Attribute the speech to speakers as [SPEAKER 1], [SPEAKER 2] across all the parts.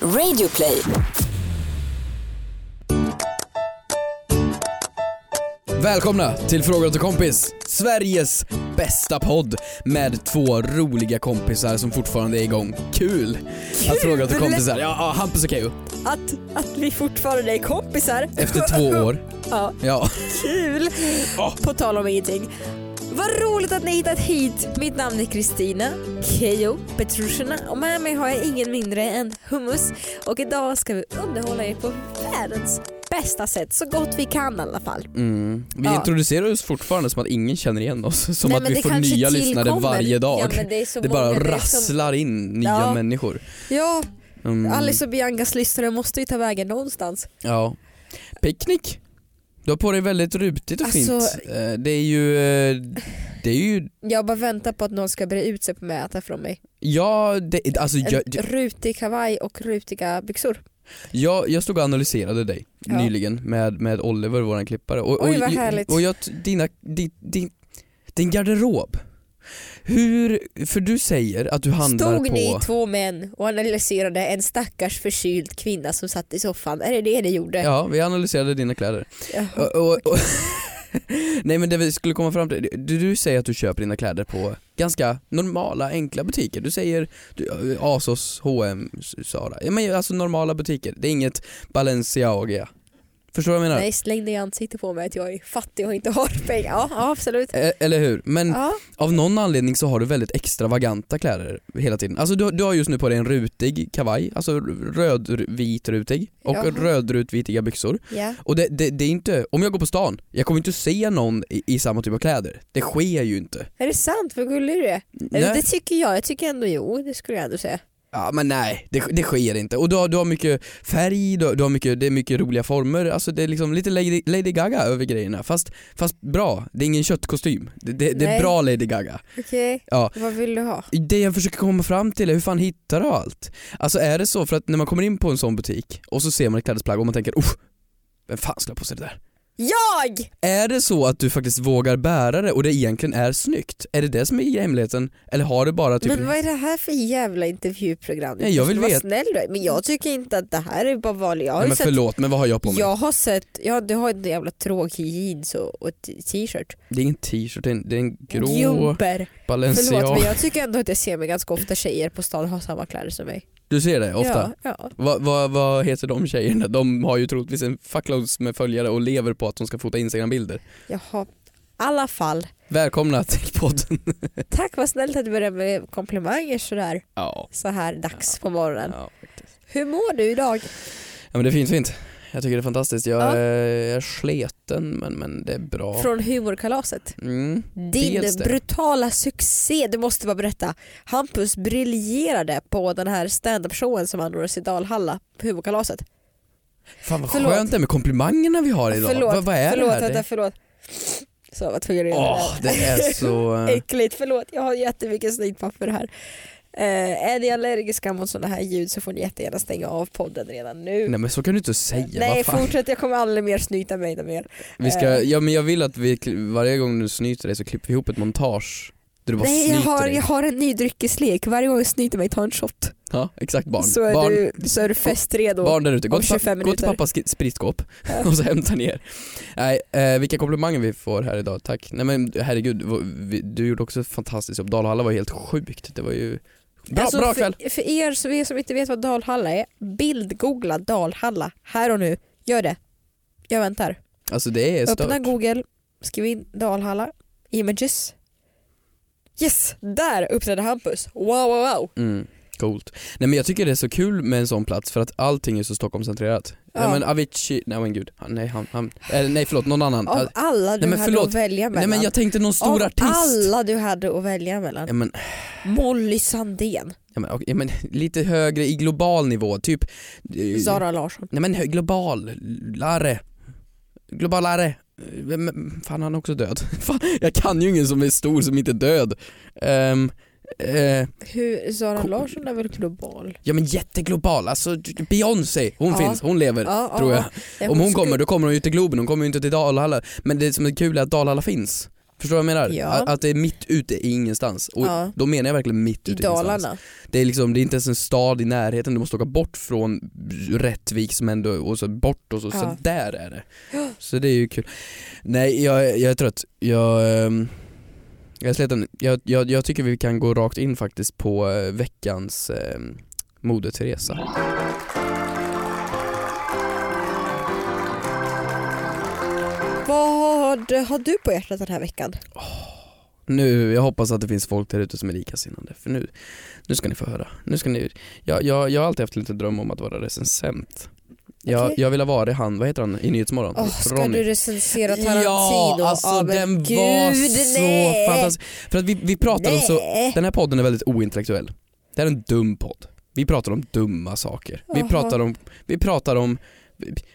[SPEAKER 1] Radioplay.
[SPEAKER 2] Välkomna till Fråga till kompis, Sveriges bästa podd med två roliga kompisar som fortfarande är igång. Kul! Att fråga till
[SPEAKER 3] Kul!
[SPEAKER 2] kompisar. Ja, ja Hampus och Keyyo.
[SPEAKER 3] Att, att vi fortfarande är kompisar.
[SPEAKER 2] Efter två år.
[SPEAKER 3] Ja,
[SPEAKER 2] Ja.
[SPEAKER 3] kul! På tal om ingenting. Vad roligt att ni hittat hit! Mitt namn är Kristina Keyyo Petrushina och med mig har jag ingen mindre än Hummus. Och idag ska vi underhålla er på världens bästa sätt, så gott vi kan i alla fall.
[SPEAKER 2] Mm. Vi
[SPEAKER 3] Ja.
[SPEAKER 2] introducerar oss fortfarande som att ingen känner igen oss. Som
[SPEAKER 3] Nej,
[SPEAKER 2] att
[SPEAKER 3] men
[SPEAKER 2] vi
[SPEAKER 3] det
[SPEAKER 2] får
[SPEAKER 3] kanske
[SPEAKER 2] nya lyssnare
[SPEAKER 3] tillkommer.
[SPEAKER 2] varje dag.
[SPEAKER 3] Ja, men det är så
[SPEAKER 2] det bara
[SPEAKER 3] många, det är
[SPEAKER 2] rasslar in nya
[SPEAKER 3] Ja.
[SPEAKER 2] människor.
[SPEAKER 3] Som, ja,
[SPEAKER 2] Mm.
[SPEAKER 3] Alice och Biancas lyssnare måste ju ta vägen någonstans.
[SPEAKER 2] Ja. Picknick. Du har på dig väldigt rutigt och
[SPEAKER 3] Alltså-
[SPEAKER 2] fint. Eh, Det är ju... eh, Det är ju...
[SPEAKER 3] Jag bara väntar på att någon ska bre ut sig på mig och äta från mig.
[SPEAKER 2] Ja, det, alltså
[SPEAKER 3] En
[SPEAKER 2] jag,
[SPEAKER 3] rutig kavaj och rutiga byxor.
[SPEAKER 2] Jag, jag stod och analyserade dig
[SPEAKER 3] Ja.
[SPEAKER 2] nyligen med, med Oliver, våran klippare. Och,
[SPEAKER 3] Oj, vad
[SPEAKER 2] och,
[SPEAKER 3] härligt.
[SPEAKER 2] Och jag, dina, din, din, din garderob. Hur, för du säger att du handlar
[SPEAKER 3] Stod
[SPEAKER 2] på...
[SPEAKER 3] ni två män och analyserade en stackars förkyld kvinna som satt i soffan? Är det det ni gjorde?
[SPEAKER 2] Ja, vi analyserade dina kläder.
[SPEAKER 3] Jaha.
[SPEAKER 2] Och, och, och, nej men det vi skulle komma fram till, du, du säger att du köper dina kläder på ganska normala, enkla butiker. Du säger du, Asos, H&M, Zara. Ja, men alltså normala butiker. Det är inget Balenciaga. Förstår du vad jag menar?
[SPEAKER 3] Nej, släng det i ansiktet på mig att jag är fattig och inte har pengar. Ja, ja absolut.
[SPEAKER 2] E- Eller hur? Men
[SPEAKER 3] Ja.
[SPEAKER 2] Av någon anledning så har du väldigt extravaganta kläder hela tiden. Alltså du, du har just nu på dig en rutig kavaj, alltså rödvit rutig och
[SPEAKER 3] Jaha.
[SPEAKER 2] rödrutvitiga byxor.
[SPEAKER 3] Ja.
[SPEAKER 2] Och det, det, det är inte, om jag går på stan, jag kommer inte se någon i, i samma typ av kläder. Det sker ju inte.
[SPEAKER 3] Är det sant? Vad gullig du är. Eller, Det
[SPEAKER 2] Nej.
[SPEAKER 3] tycker jag. Jag tycker ändå jo, det skulle jag ändå säga.
[SPEAKER 2] Ja men nej, det, det sker inte. Och du har, du har mycket färg, du, har- du har mycket, det är mycket roliga former, alltså det är liksom lite Lady, Lady Gaga över grejerna. Fast, fast bra, det är ingen köttkostym. Det, det, det är
[SPEAKER 3] Nej.
[SPEAKER 2] bra Lady Gaga.
[SPEAKER 3] Okej,
[SPEAKER 2] Ja.
[SPEAKER 3] vad vill du ha?
[SPEAKER 2] Det jag försöker komma fram till är hur fan hittar du allt? Alltså är det så för att när man kommer in på en sån butik och så ser man ett klädesplagg och man tänker oh, vem fan skulle ha på sig det där?
[SPEAKER 3] Jag!
[SPEAKER 2] Är det så att du faktiskt vågar bära det och det egentligen är snyggt? Är det det som är hemligheten? Eller har du bara typ
[SPEAKER 3] Men vad är det här för jävla intervjuprogram? Du
[SPEAKER 2] Nej, jag vill
[SPEAKER 3] måste vara
[SPEAKER 2] veta-
[SPEAKER 3] snäll du är. Men jag tycker inte att det här är bara vanligt. Jag har
[SPEAKER 2] Nej,
[SPEAKER 3] ju
[SPEAKER 2] men
[SPEAKER 3] sett...
[SPEAKER 2] förlåt men vad har jag på mig?
[SPEAKER 3] Jag har sett, ja du har en jävla tråkig jeans och, och t- t-shirt.
[SPEAKER 2] Det är ingen t-shirt, det är en, det är en grå
[SPEAKER 3] Jumper.
[SPEAKER 2] Balenciaga.
[SPEAKER 3] Förlåt men jag tycker ändå att jag ser mig ganska ofta tjejer på stan ha samma kläder som mig.
[SPEAKER 2] Du ser det ofta?
[SPEAKER 3] Ja, ja.
[SPEAKER 2] Vad vad- vad heter de tjejerna? De har ju troligtvis en fuckloads med följare och lever på att de ska fota instagrambilder.
[SPEAKER 3] Jaha. I alla fall.
[SPEAKER 2] Välkomna till podden.
[SPEAKER 3] Tack vad snällt att du började med komplimanger sådär
[SPEAKER 2] Ja.
[SPEAKER 3] så här dags på morgonen.
[SPEAKER 2] ja.
[SPEAKER 3] Hur mår du idag?
[SPEAKER 2] Ja men det är fint fint. Jag tycker det är fantastiskt. Jag
[SPEAKER 3] Ja.
[SPEAKER 2] är, jag är sleten men, men det är bra.
[SPEAKER 3] Från humorkalaset.
[SPEAKER 2] Mm.
[SPEAKER 3] Din
[SPEAKER 2] Dels det.
[SPEAKER 3] brutala succé, du måste bara berätta. Hampus briljerade på den här standup-showen som anordnades i Dalhalla på humorkalaset.
[SPEAKER 2] Fan vad
[SPEAKER 3] Förlåt.
[SPEAKER 2] skönt det är med komplimangerna vi har idag.
[SPEAKER 3] Förlåt,
[SPEAKER 2] vad, vad är
[SPEAKER 3] förlåt,
[SPEAKER 2] det här?
[SPEAKER 3] Vänta, förlåt. Så jag var tvungen att
[SPEAKER 2] det...
[SPEAKER 3] göra det.
[SPEAKER 2] Åh,
[SPEAKER 3] här.
[SPEAKER 2] det är så... eh,
[SPEAKER 3] Äckligt, förlåt. Jag har jättemycket snytpapper här. Eh, är ni allergiska mot sådana här ljud så får ni jättegärna stänga av podden redan nu.
[SPEAKER 2] Nej men så kan du inte säga.
[SPEAKER 3] Nej, eh.
[SPEAKER 2] vad fan.
[SPEAKER 3] fortsätt. Jag kommer aldrig mer snyta mig något mer.
[SPEAKER 2] Vi ska, ja men jag vill att vi, kli- varje gång du snyter dig så klipper vi ihop ett montage. Där du bara
[SPEAKER 3] Nej, jag
[SPEAKER 2] snyter
[SPEAKER 3] har,
[SPEAKER 2] dig.
[SPEAKER 3] jag har en ny dryckeslek. Varje gång jag snyter mig, ta en shot.
[SPEAKER 2] Ja, exakt barn.
[SPEAKER 3] Så är,
[SPEAKER 2] barn.
[SPEAKER 3] Du, så är du festredo.
[SPEAKER 2] Barn där ute, gå,
[SPEAKER 3] om
[SPEAKER 2] till pa-
[SPEAKER 3] 25
[SPEAKER 2] gå till
[SPEAKER 3] minuter.
[SPEAKER 2] pappas sk- spritskåp och så hämta ner. Nej, eh, vilka komplimanger vi får här idag, tack. Nej men herregud, v- vi- du gjorde också ett fantastiskt jobb. Dalhalla var helt sjukt, det var ju bra,
[SPEAKER 3] Alltså,
[SPEAKER 2] bra kväll.
[SPEAKER 3] För, för er som, er som inte vet vad Dalhalla är, bildgoogla Dalhalla här och nu. Gör det. Jag väntar.
[SPEAKER 2] Alltså det är
[SPEAKER 3] Öppna
[SPEAKER 2] stört.
[SPEAKER 3] google, skriv in Dalhalla, images. Yes, där uppträdde Hampus. Wow, wow, wow.
[SPEAKER 2] Mm, coolt. Nej men jag tycker det är så kul med en sån plats för att allting är så Stockholmscentrerat. Ja.
[SPEAKER 3] Ja.
[SPEAKER 2] men Avicii, nej men gud, han, nej han, han eh, nej förlåt, någon annan.
[SPEAKER 3] Av
[SPEAKER 2] Ah,
[SPEAKER 3] alla du
[SPEAKER 2] nej, men
[SPEAKER 3] hade
[SPEAKER 2] förlåt.
[SPEAKER 3] att välja
[SPEAKER 2] nej
[SPEAKER 3] mellan.
[SPEAKER 2] men jag tänkte någon stor
[SPEAKER 3] Av
[SPEAKER 2] artist.
[SPEAKER 3] alla du hade att välja mellan.
[SPEAKER 2] Ja, men,
[SPEAKER 3] Molly Sandén,
[SPEAKER 2] ja, men, okej, ja, men lite högre i global nivå, typ eh,
[SPEAKER 3] Zara Larsson.
[SPEAKER 2] Nej men hö- global, lare. Globalare. Vem- Fan han är också död. Fan, jag kan ju ingen som är stor som inte är död. Ehm, eh,
[SPEAKER 3] Hur, Zara
[SPEAKER 2] Cool.
[SPEAKER 3] Larsson är väl global?
[SPEAKER 2] ja men jätteglobal, alltså Beyoncé, hon
[SPEAKER 3] Ja. finns,
[SPEAKER 2] finns, hon lever.
[SPEAKER 3] Ja, ja,
[SPEAKER 2] tror jag.
[SPEAKER 3] ja. Ja,
[SPEAKER 2] Om hon
[SPEAKER 3] skulle-
[SPEAKER 2] kommer då kommer hon ju till Globen, hon kommer ju inte till Dalhalla. Men det som är kul är att Dalhalla finns. Förstår du vad jag menar?
[SPEAKER 3] Ja.
[SPEAKER 2] Att, att det är mitt ute i ingenstans. Och
[SPEAKER 3] Ja.
[SPEAKER 2] då menar jag verkligen mitt
[SPEAKER 3] I
[SPEAKER 2] ute i ingenstans.
[SPEAKER 3] Dalarna.
[SPEAKER 2] Det är, liksom, det är inte ens en stad i närheten, du måste åka bort från Rättvik som ändå, och så bort och så,
[SPEAKER 3] Ja.
[SPEAKER 2] så där är det. Så det är ju kul. Nej jag, jag är trött, jag, ehm, jag är sliten. Jag, jag, jag tycker vi kan gå rakt in faktiskt på eh, veckans eh, Moder Teresa.
[SPEAKER 3] Vad har du på hjärtat den här veckan?
[SPEAKER 2] Nu, jag hoppas att det finns folk där ute som är likasinnande för nu, nu ska ni få höra. Nu ska ni, jag, jag, jag har alltid haft lite dröm om att vara recensent. Jag,
[SPEAKER 3] Okej.
[SPEAKER 2] jag vill ha varit han, vad heter han i Nyhetsmorgon?
[SPEAKER 3] Åh, ska
[SPEAKER 2] Ronny.
[SPEAKER 3] du recensera Tarantino?
[SPEAKER 2] Ja, alltså
[SPEAKER 3] Ja, men
[SPEAKER 2] den
[SPEAKER 3] gud,
[SPEAKER 2] var så
[SPEAKER 3] nej.
[SPEAKER 2] fantastisk. För att vi, vi pratar om så,
[SPEAKER 3] Nej.
[SPEAKER 2] den här podden är väldigt ointellektuell. Det här är en dum podd. Vi pratar om dumma saker. Vi
[SPEAKER 3] Jaha.
[SPEAKER 2] pratar om, vi pratar om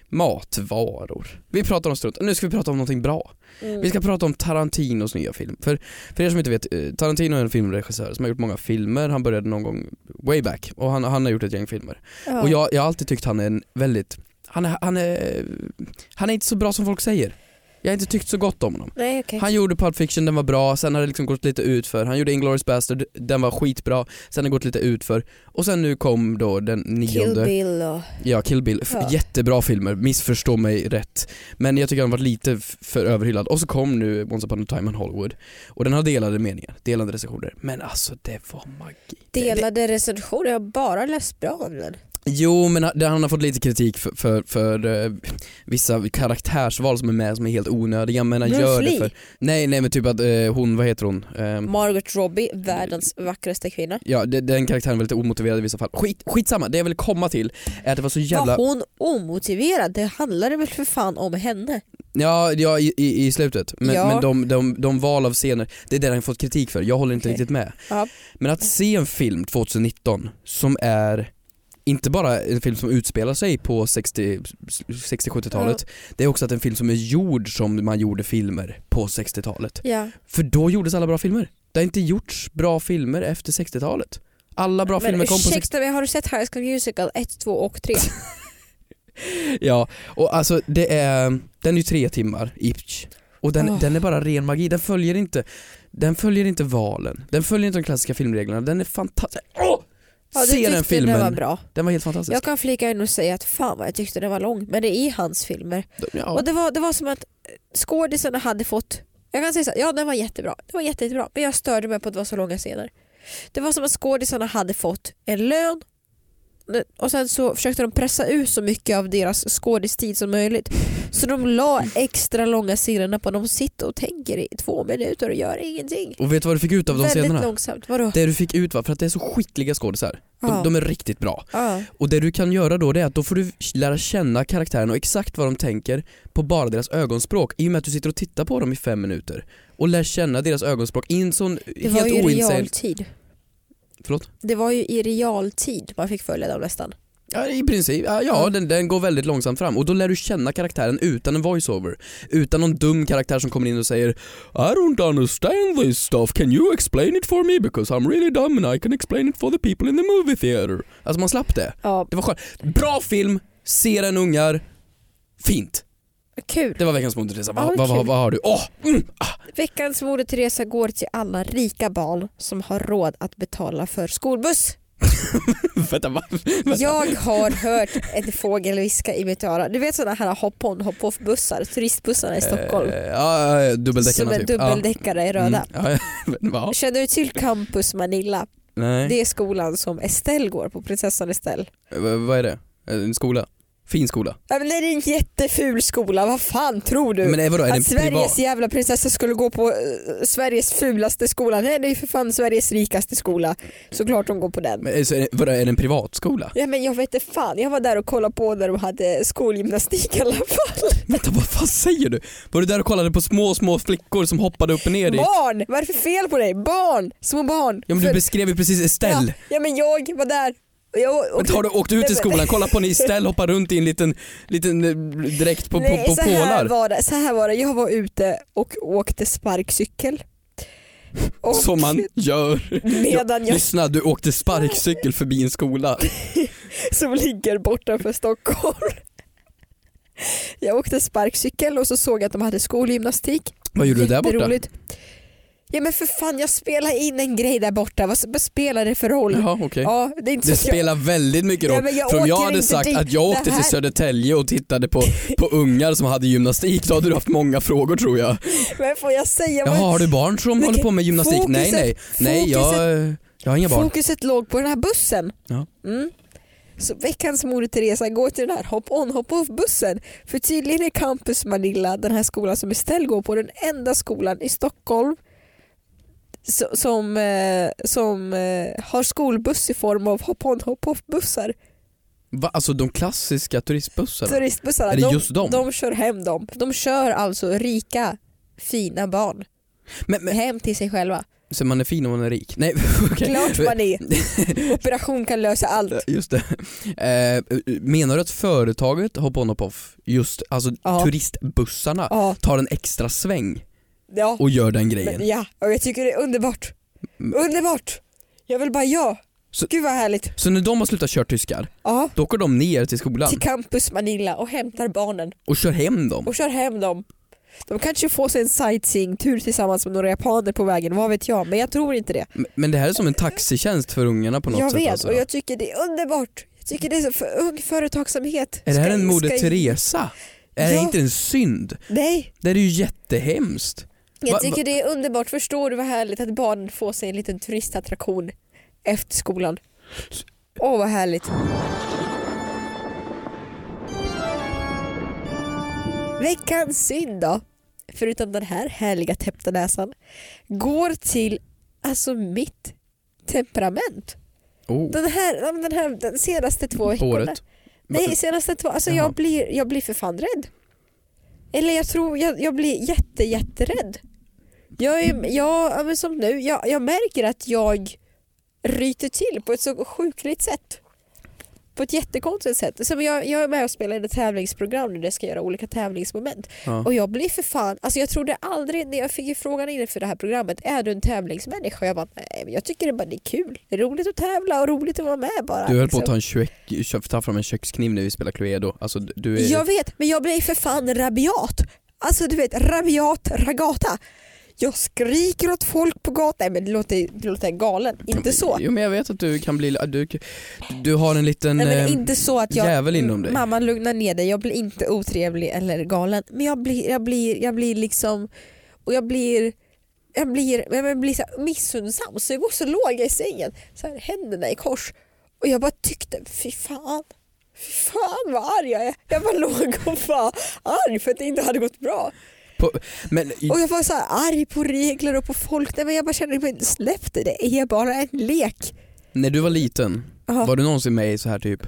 [SPEAKER 2] matvaror. Vi pratar om strunt. Nu ska vi prata om någonting bra.
[SPEAKER 3] Mm.
[SPEAKER 2] Vi ska prata om Tarantinos nya film. För, för er som inte vet, eh, Tarantino är en filmregissör som har gjort många filmer. Han började någon gång way back och han, han har gjort ett gäng filmer.
[SPEAKER 3] Mm. Ja.
[SPEAKER 2] Och jag, jag har alltid tyckt han är en väldigt, han är, han, är, han är inte så bra som folk säger. Jag har inte tyckt så gott om honom.
[SPEAKER 3] Nej, okej.
[SPEAKER 2] Han gjorde Pulp Fiction, den var bra, sen har det liksom gått lite ut för. Han gjorde Inglourious Bastard, den var skitbra, sen har det gått lite ut för. Och sen nu kom då den nionde.
[SPEAKER 3] Kill Bill och...
[SPEAKER 2] Ja, Kill Bill. F-
[SPEAKER 3] Ja.
[SPEAKER 2] Jättebra filmer, missförstå mig rätt. Men jag tycker han var lite f- för överhyllad. Och så kom nu Once upon a time in Hollywood. Och den har delade meningar, delade recensioner. Men alltså det var magi. Det- det-
[SPEAKER 3] Delade recensioner, jag har bara läst bra om den.
[SPEAKER 2] Jo men han- han har fått lite kritik för, för, för eh, vissa karaktärsval som är med som är helt onödiga men han
[SPEAKER 3] Bruce
[SPEAKER 2] gör det
[SPEAKER 3] Lee.
[SPEAKER 2] för... Nej nej men typ att eh, hon, vad heter hon? Ehm,
[SPEAKER 3] Margot Robbie, världens vackraste kvinna.
[SPEAKER 2] Ja, de- den karaktären var lite omotiverad i vissa fall. Skit, skitsamma, det jag vill komma till är att det var så jävla...
[SPEAKER 3] Var hon omotiverad? Det handlade väl för fan om henne?
[SPEAKER 2] Ja, ja i, i i slutet. Men,
[SPEAKER 3] Ja.
[SPEAKER 2] men de, de, de val av scener, det är det han fått kritik för. Jag håller inte
[SPEAKER 3] Okej.
[SPEAKER 2] riktigt med.
[SPEAKER 3] Ja.
[SPEAKER 2] Men att se en film 2019 som är inte bara en film som utspelar sig på 60 60-70-talet, det är också att en film som är gjord som man gjorde filmer på 60-talet.
[SPEAKER 3] Ja.
[SPEAKER 2] För då gjordes alla bra filmer. Det har inte gjorts bra filmer efter 60-talet. Alla bra
[SPEAKER 3] Men
[SPEAKER 2] filmer kom på 60
[SPEAKER 3] ursäkta mig, har du sett High School Musical 1, 2 och 3?
[SPEAKER 2] Ja, och alltså det är, den är ju tre timmar, Itch. Och den,
[SPEAKER 3] Åh.
[SPEAKER 2] den är bara ren magi, den följer inte, den följer inte valen, den följer inte de klassiska filmreglerna, den är fantastisk. Åh!
[SPEAKER 3] Ja, du
[SPEAKER 2] Se den
[SPEAKER 3] tyckte
[SPEAKER 2] filmen,
[SPEAKER 3] Den var
[SPEAKER 2] den var,
[SPEAKER 3] bra.
[SPEAKER 2] helt fantastisk.
[SPEAKER 3] Jag kan flika in och säga att fan vad jag tyckte den var lång, men det är hans filmer.
[SPEAKER 2] Ja,
[SPEAKER 3] Och det var, det var som att eh, skådisarna hade fått, jag kan säga så här, ja den var jättebra, det var jätte, jättebra, men jag störde mig på att det var så långa scener. Det var som att skådisarna hade fått en lön och sen så försökte de pressa ut så mycket av deras skådistid som möjligt. Så de la extra långa scenerna på de sitter och tänker i två minuter och gör ingenting.
[SPEAKER 2] och vet du vad du fick ut av de
[SPEAKER 3] Väldigt
[SPEAKER 2] scenerna?
[SPEAKER 3] långsamt. Vadå?
[SPEAKER 2] Det du fick ut var, för att det är så skickliga skådisar,
[SPEAKER 3] Ja.
[SPEAKER 2] de, de är riktigt bra.
[SPEAKER 3] Ja.
[SPEAKER 2] Och det du kan göra då det är att då får du lära känna karaktären och exakt vad de tänker på bara deras ögonspråk i och med att du sitter och tittar på dem i fem minuter och lär känna deras ögonspråk i en sån
[SPEAKER 3] Det var ju
[SPEAKER 2] helt
[SPEAKER 3] i
[SPEAKER 2] oinsäglig...
[SPEAKER 3] realtid.
[SPEAKER 2] Förlåt?
[SPEAKER 3] Det var ju i realtid man fick följa dem nästan.
[SPEAKER 2] Ja i princip, ja, ja
[SPEAKER 3] Mm.
[SPEAKER 2] den, den går väldigt långsamt fram och då lär du känna karaktären utan en voiceover. Utan någon dum karaktär som kommer in och säger I don't understand this stuff, can you explain it for me because I'm really dumb and I can explain it for the people in the movie theater. Alltså man slapp det.
[SPEAKER 3] Ja,
[SPEAKER 2] Det var skönt. Bra film, se den ungar. Fint.
[SPEAKER 3] kul.
[SPEAKER 2] Det var veckans Moder Teresa. Vad
[SPEAKER 3] Ja,
[SPEAKER 2] vad-
[SPEAKER 3] kul.
[SPEAKER 2] vad- vad har du? Åh! mm.
[SPEAKER 3] Veckans Moder Teresa går till alla rika barn som har råd att betala för skolbuss.
[SPEAKER 2] Vänta, va?
[SPEAKER 3] Jag har hört en fågel viska i mitt öra. Du vet sådana här hopp on hopp off bussar, turistbussarna i Stockholm.
[SPEAKER 2] Eh, ja, ja, ja,
[SPEAKER 3] som
[SPEAKER 2] dubbeldäckarna
[SPEAKER 3] är
[SPEAKER 2] typ.
[SPEAKER 3] dubbeldäckare i
[SPEAKER 2] ja.
[SPEAKER 3] röda.
[SPEAKER 2] Mm. Ja, men, va?
[SPEAKER 3] Känner du till Campus Manila?
[SPEAKER 2] Nej.
[SPEAKER 3] Det är skolan som Estelle går på, prinsessan Estelle.
[SPEAKER 2] Eh, vad- Vad är det? En skola? Fin skola?
[SPEAKER 3] Ja, men det är en jätteful skola, vad fan tror du?
[SPEAKER 2] Men eh, vadå, är
[SPEAKER 3] att
[SPEAKER 2] det
[SPEAKER 3] Sveriges
[SPEAKER 2] privat?
[SPEAKER 3] jävla prinsessa skulle gå på eh, Sveriges fulaste skola. Nej det är ju för fan Sveriges rikaste skola. Såklart hon går på den.
[SPEAKER 2] Men, eh, så är det, vadå, är det en privatskola?
[SPEAKER 3] Ja, men jag vet inte fan, jag var där och kollade på när de hade skolgymnastik i alla fall.
[SPEAKER 2] Vänta vad fan säger du? Var du där och kollade på små, små flickor som hoppade upp och ner i...
[SPEAKER 3] Barn! Vad är det för fel på dig? Barn! Små barn!
[SPEAKER 2] Ja men du
[SPEAKER 3] För-
[SPEAKER 2] beskrev ju precis Estelle.
[SPEAKER 3] Ja, ja men jag var där. Och Jag,
[SPEAKER 2] Men har du åkt ut
[SPEAKER 3] Nej,
[SPEAKER 2] till
[SPEAKER 3] men-
[SPEAKER 2] skolan, kolla på när Estelle hoppar runt i en liten, liten eh, dräkt på,
[SPEAKER 3] Nej,
[SPEAKER 2] på, på
[SPEAKER 3] så här,
[SPEAKER 2] pålar.
[SPEAKER 3] var det, så här var det, jag var ute och åkte sparkcykel. Och
[SPEAKER 2] Som man gör.
[SPEAKER 3] Medan jag
[SPEAKER 2] Lyssna, du åkte sparkcykel förbi en skola.
[SPEAKER 3] som ligger bortanför Stockholm. Jag åkte sparkcykel och så såg jag att de hade skolgymnastik
[SPEAKER 2] Vad gjorde du där borta?
[SPEAKER 3] Jätteroligt. Ja men för fan jag spelade in en grej där borta, vad, vad spelar det för roll?
[SPEAKER 2] Jaha, okej.
[SPEAKER 3] Ja, det är inte
[SPEAKER 2] Det
[SPEAKER 3] så att jag,
[SPEAKER 2] spelar väldigt mycket
[SPEAKER 3] Ja,
[SPEAKER 2] roll.
[SPEAKER 3] men jag
[SPEAKER 2] för om jag
[SPEAKER 3] åker
[SPEAKER 2] hade
[SPEAKER 3] inte
[SPEAKER 2] sagt
[SPEAKER 3] dit.
[SPEAKER 2] att jag åkte
[SPEAKER 3] Det här-
[SPEAKER 2] till Södertälje och tittade på, på ungar som hade gymnastik, då hade du haft många frågor tror jag.
[SPEAKER 3] men får jag säga
[SPEAKER 2] Jaha,
[SPEAKER 3] vad
[SPEAKER 2] har du barn som
[SPEAKER 3] Men
[SPEAKER 2] håller på med gymnastik? nej,
[SPEAKER 3] fokuset-
[SPEAKER 2] nej. Nej, jag, eh, jag har inga barn.
[SPEAKER 3] fokuset låg på den här bussen?
[SPEAKER 2] Ja.
[SPEAKER 3] Mm. Så veckans moder Teresa går till den här hop on hop off bussen. För tydligen är Campus Manilla, den här skolan som Estelle går på, den enda skolan i Stockholm so- som, eh, som eh, har skolbuss i form av hop on hop off bussar.
[SPEAKER 2] Va? Alltså de klassiska turistbussarna?
[SPEAKER 3] Turistbussarna,
[SPEAKER 2] Är det
[SPEAKER 3] de,
[SPEAKER 2] just dem?
[SPEAKER 3] de kör hem dem. De kör alltså rika, fina barn
[SPEAKER 2] Men, men
[SPEAKER 3] hem till sig själva.
[SPEAKER 2] så man är fin om man är rik? Nej, okej.
[SPEAKER 3] Klart man är. Operation kan lösa allt.
[SPEAKER 2] Just det. Eh, menar du att företaget Hop On Hop Off, just alltså
[SPEAKER 3] Ja.
[SPEAKER 2] turistbussarna,
[SPEAKER 3] Ja,
[SPEAKER 2] tar en extra sväng
[SPEAKER 3] ja.
[SPEAKER 2] och gör den
[SPEAKER 3] Men,
[SPEAKER 2] grejen?
[SPEAKER 3] ja, och jag tycker det är underbart.
[SPEAKER 2] Mm.
[SPEAKER 3] Underbart! Jag vill bara ja.
[SPEAKER 2] Så-
[SPEAKER 3] Gud vad härligt.
[SPEAKER 2] Så när de har slutat köra tyskar,
[SPEAKER 3] Ja,
[SPEAKER 2] då åker de ner till skolan
[SPEAKER 3] till Campus Manila och hämtar barnen
[SPEAKER 2] och kör hem dem?
[SPEAKER 3] och kör hem dem. De kanske får sig en sightseeingtur tillsammans med några japaner på vägen, vad vet jag. Men jag tror inte det.
[SPEAKER 2] M- Men det här är som en taxitjänst för ungarna på något
[SPEAKER 3] Jag
[SPEAKER 2] sätt
[SPEAKER 3] vet
[SPEAKER 2] alltså.
[SPEAKER 3] och jag tycker det är underbart. Jag tycker det är så för ung företagsamhet.
[SPEAKER 2] Är det här
[SPEAKER 3] Ska-
[SPEAKER 2] en Moder
[SPEAKER 3] ska-
[SPEAKER 2] Teresa? Är det
[SPEAKER 3] Ja.
[SPEAKER 2] inte en synd?
[SPEAKER 3] Nej,
[SPEAKER 2] Det är ju jättehemskt. Va- va-
[SPEAKER 3] jag tycker det är underbart. Förstår du vad härligt att barnen får sig en liten turistattraktion efter skolan. Åh vad härligt. Veckans synd då, förutom den här härliga täppta näsan, går till alltså mitt temperament.
[SPEAKER 2] Oh,
[SPEAKER 3] Den här, ja, men den här den senaste två
[SPEAKER 2] på
[SPEAKER 3] veckorna.
[SPEAKER 2] året.
[SPEAKER 3] Nej, senaste två. Alltså
[SPEAKER 2] Jaha.
[SPEAKER 3] jag blir, jag blir för fan rädd. Eller jag tror, jag, jag blir jätte, jätterädd. Jag är,
[SPEAKER 2] Mm.
[SPEAKER 3] jag, ja, men som nu, jag, jag märker att jag ryter till på ett så sjukligt sätt. På ett jättekonstigt sätt. Som jag, jag är med och spelar i ett tävlingsprogram nu där jag ska göra olika tävlingsmoment.
[SPEAKER 2] Ja.
[SPEAKER 3] Och jag blir för fan, alltså jag trodde aldrig när jag fick ju frågan inför det här programmet, är du en tävlingsmänniska? Och jag bara, nej men jag tycker det bara det är kul. Det är roligt att tävla och roligt att vara med bara.
[SPEAKER 2] Du höll på
[SPEAKER 3] liksom.
[SPEAKER 2] att ta, en kök, kö- ta fram en kökskniv när vi spelar Cluedo. Alltså du- du är...
[SPEAKER 3] Jag vet, men jag blir för fan rabiat. Alltså du vet, rabiat ragata. Jag skriker åt folk på gatan. Nej men det låter, det låter galen. Inte så.
[SPEAKER 2] Jo men jag vet att du kan bli, du, du har en liten
[SPEAKER 3] Nej, men
[SPEAKER 2] eh,
[SPEAKER 3] inte så att jag...
[SPEAKER 2] jävel inom dig.
[SPEAKER 3] Mamma lugna ner dig, jag blir inte otrevlig eller galen. Men jag blir, jag blir, jag blir liksom... Och jag blir... Jag blir, jag men blir så här missunnsam så jag går så låga i sängen, så här, händerna i kors. Och jag bara tyckte, fy fan. Fy fan vad arg jag är. Jag bara låg och var arg för att det inte hade gått bra.
[SPEAKER 2] På, men i-
[SPEAKER 3] Och jag var så här arg på regler och på folk. Nej, men jag bara kände mig släpp det, det är bara en lek.
[SPEAKER 2] när du var liten,
[SPEAKER 3] Ja.
[SPEAKER 2] var du någonsin med i så här typ,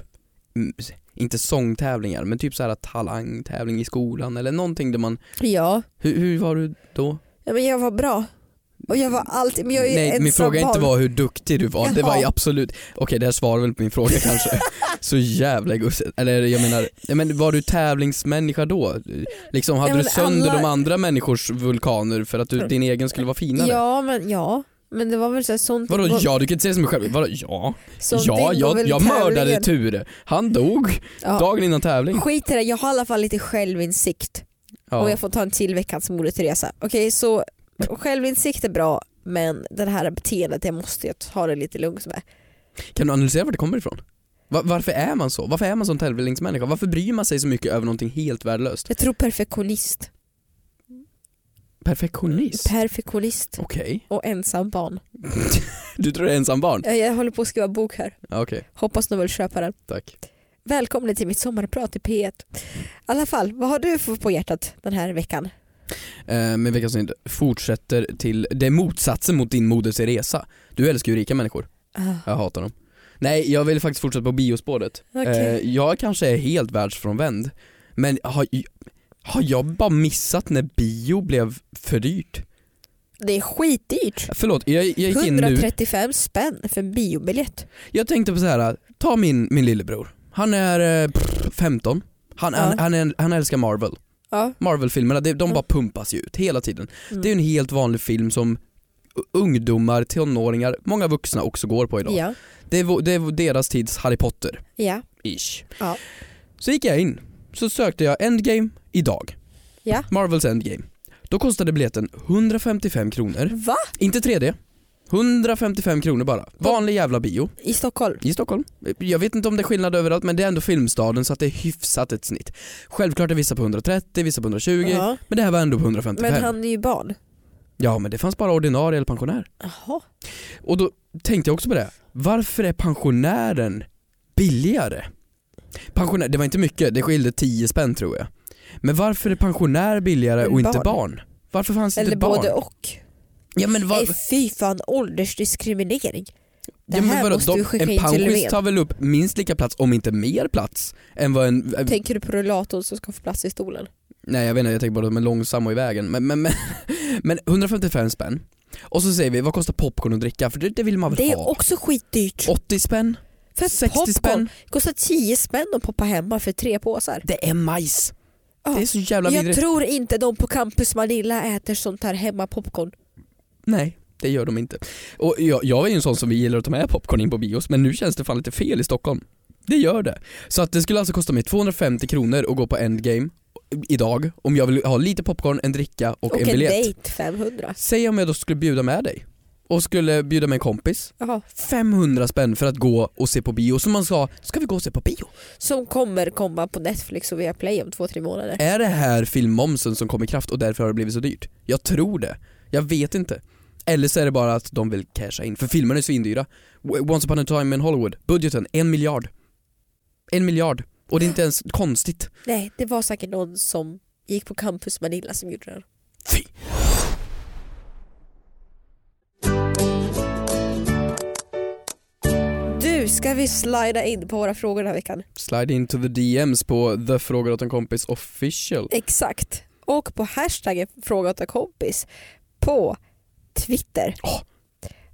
[SPEAKER 2] mm, s- inte sångtävlingar, men typ så här talangtävling i skolan eller någonting där man,
[SPEAKER 3] Ja.
[SPEAKER 2] hur, hur var du då?
[SPEAKER 3] ja, men jag var bra. Och jag var alltid, men jag är ju
[SPEAKER 2] Nej min
[SPEAKER 3] ensam
[SPEAKER 2] fråga inte
[SPEAKER 3] barn.
[SPEAKER 2] var hur duktig du var, det var
[SPEAKER 3] Jaha.
[SPEAKER 2] ju absolut, okej det här svarar väl på min fråga kanske. Så jävla gosigt. Eller jag menar, ja, men var du tävlingsmänniska då? Liksom hade
[SPEAKER 3] Ja, men
[SPEAKER 2] du sönder
[SPEAKER 3] alla-
[SPEAKER 2] de andra människors vulkaner för att du, din egen skulle vara finare?
[SPEAKER 3] Ja, men ja. Men det var väl så här, sånt
[SPEAKER 2] Vadå
[SPEAKER 3] ingår-
[SPEAKER 2] ja, du kan inte säga som mig själv. Vadå ja?
[SPEAKER 3] sånt
[SPEAKER 2] ja,
[SPEAKER 3] ingår
[SPEAKER 2] jag,
[SPEAKER 3] väl i
[SPEAKER 2] jag mördade typ-
[SPEAKER 3] tävlingen.
[SPEAKER 2] Ture. Han dog
[SPEAKER 3] Ja.
[SPEAKER 2] dagen innan tävling.
[SPEAKER 3] Skit i det, jag har i alla fall lite självinsikt. Och
[SPEAKER 2] Ja.
[SPEAKER 3] jag får ta en till veckans Moder Teresa. Okej, så självinsikt är bra men det här beteendet det måste jag ta det lite lugnt med.
[SPEAKER 2] Kan du analysera var det kommer ifrån? Va- varför är man så? Varför är man sån tävlingsmänniska? Varför bryr man sig så mycket över någonting helt värdelöst?
[SPEAKER 3] Jag tror perfektionist.
[SPEAKER 2] Perfektionist?
[SPEAKER 3] Perfektionist
[SPEAKER 2] Okej.
[SPEAKER 3] och ensam barn.
[SPEAKER 2] Du tror det är ensam barn?
[SPEAKER 3] Jag, jag håller på att skriva bok här.
[SPEAKER 2] Ja, Okej,
[SPEAKER 3] Hoppas någon vill köpa den.
[SPEAKER 2] tack.
[SPEAKER 3] Välkommen till mitt sommarprat i P1. I alla fall, vad har du för på hjärtat den här veckan?
[SPEAKER 2] Eh, men veckans synd fortsätter till, det är motsatsen mot din Moder Teresa. Du älskar ju rika människor.
[SPEAKER 3] Ah,
[SPEAKER 2] Jag hatar dem. Nej, jag vill faktiskt fortsätta på biospåret.
[SPEAKER 3] Okej.
[SPEAKER 2] Eh, jag kanske är helt världsfrånvänd, men har, har jag bara missat när bio blev för dyrt?
[SPEAKER 3] Det är skitdyrt.
[SPEAKER 2] Förlåt, jag, jag gick in nu,
[SPEAKER 3] 135 spänn för en biobiljett.
[SPEAKER 2] jag tänkte på så här. ta min, min lillebror, han är eh, pff, 15, han, han,
[SPEAKER 3] Ja.
[SPEAKER 2] han, är, han älskar Marvel.
[SPEAKER 3] Ja.
[SPEAKER 2] Marvel-filmerna, de, de
[SPEAKER 3] Ja.
[SPEAKER 2] bara pumpas ju ut hela tiden.
[SPEAKER 3] Mm.
[SPEAKER 2] Det är ju en helt vanlig film som ungdomar, tonåringar, många vuxna också går på idag.
[SPEAKER 3] Ja.
[SPEAKER 2] Det, är, vå- det är deras tids Harry Potter.
[SPEAKER 3] Ja.
[SPEAKER 2] ish.
[SPEAKER 3] Ja.
[SPEAKER 2] Så gick jag in, så sökte jag Endgame idag.
[SPEAKER 3] Ja.
[SPEAKER 2] Marvels Endgame. Då kostade biljetten 155 kronor.
[SPEAKER 3] Va?
[SPEAKER 2] Inte 3D. 155 kronor bara. Vanlig jävla bio
[SPEAKER 3] I Stockholm?
[SPEAKER 2] i Stockholm. Jag vet inte om det är skillnad överallt men det är ändå filmstaden så att det är hyfsat ett snitt. Självklart är vissa på 130, vissa på 120
[SPEAKER 3] Ja.
[SPEAKER 2] men det här var ändå på 155.
[SPEAKER 3] Men han är ju barn.
[SPEAKER 2] Ja men det fanns bara ordinarie eller pensionär.
[SPEAKER 3] Jaha.
[SPEAKER 2] Och då tänkte jag också på det, varför är pensionären billigare? Pensionär, det var inte mycket, det skilde 10 spänn tror jag. Men varför är pensionär billigare och inte
[SPEAKER 3] Barn.
[SPEAKER 2] barn? Varför fanns
[SPEAKER 3] Eller
[SPEAKER 2] inte barn?
[SPEAKER 3] både och.
[SPEAKER 2] Ja men, var,
[SPEAKER 3] Nej fy fan åldersdiskriminering. Det
[SPEAKER 2] ja, men
[SPEAKER 3] här
[SPEAKER 2] vadå,
[SPEAKER 3] måste du
[SPEAKER 2] de,
[SPEAKER 3] skicka
[SPEAKER 2] en
[SPEAKER 3] in till
[SPEAKER 2] pensionist
[SPEAKER 3] Löfven.
[SPEAKER 2] tar väl upp minst lika plats, om inte mer plats, än vad en,
[SPEAKER 3] Tänker du på rullatorn som ska få plats i stolen?
[SPEAKER 2] Nej jag vet inte, jag tänker bara att de är långsamma och i vägen. Men, men, men, men 155 spänn. Och så säger vi, vad kostar popcorn att dricka? För det, det vill man väl
[SPEAKER 3] Det är
[SPEAKER 2] ha?
[SPEAKER 3] också skitdyrt.
[SPEAKER 2] 80 spänn?
[SPEAKER 3] För
[SPEAKER 2] 60
[SPEAKER 3] popcorn
[SPEAKER 2] spänn?
[SPEAKER 3] kostar 10 spänn att poppa hemma för tre påsar.
[SPEAKER 2] Det är majs.
[SPEAKER 3] Ja.
[SPEAKER 2] Det är så jävla
[SPEAKER 3] Jag
[SPEAKER 2] vidrigt.
[SPEAKER 3] tror inte de på Campus Manilla äter sånt här hemma popcorn.
[SPEAKER 2] Nej, det gör de inte. Och jag, jag är ju en sån som vi gillar att ta med popcorn in på bios, men nu känns det fan lite fel i Stockholm. Det gör det. Så att det skulle alltså kosta mig 250 kronor att gå på Endgame idag om jag vill ha lite popcorn, en dricka och,
[SPEAKER 3] Och
[SPEAKER 2] en
[SPEAKER 3] en
[SPEAKER 2] biljett.
[SPEAKER 3] dejt 500.
[SPEAKER 2] Säg om jag då skulle bjuda med dig och skulle bjuda med en kompis
[SPEAKER 3] Jaha.
[SPEAKER 2] 500 spänn för att gå och se på bio. Som man sa, ska vi gå och se på bio?
[SPEAKER 3] Som kommer komma på Netflix och Viaplay om två, tre månader.
[SPEAKER 2] Är det här filmmomsen som kom i kraft och därför har det blivit så dyrt? Jag tror det. Jag vet inte. Eller så är det bara att de vill casha in, för filmerna är svindyra. W- Once upon a time in Hollywood, budgeten en miljard. En miljard. Och det är inte ens konstigt.
[SPEAKER 3] Nej, det var säkert någon som gick på Campus Manilla som gjorde det. här.
[SPEAKER 2] Fy!
[SPEAKER 3] Du, ska vi slida in på våra frågor den här veckan?
[SPEAKER 2] Slide into the DMs på the frågar åt en kompis official.
[SPEAKER 3] Exakt. Och på hashtaggen fråga åt en kompis på Twitter.
[SPEAKER 2] Ja.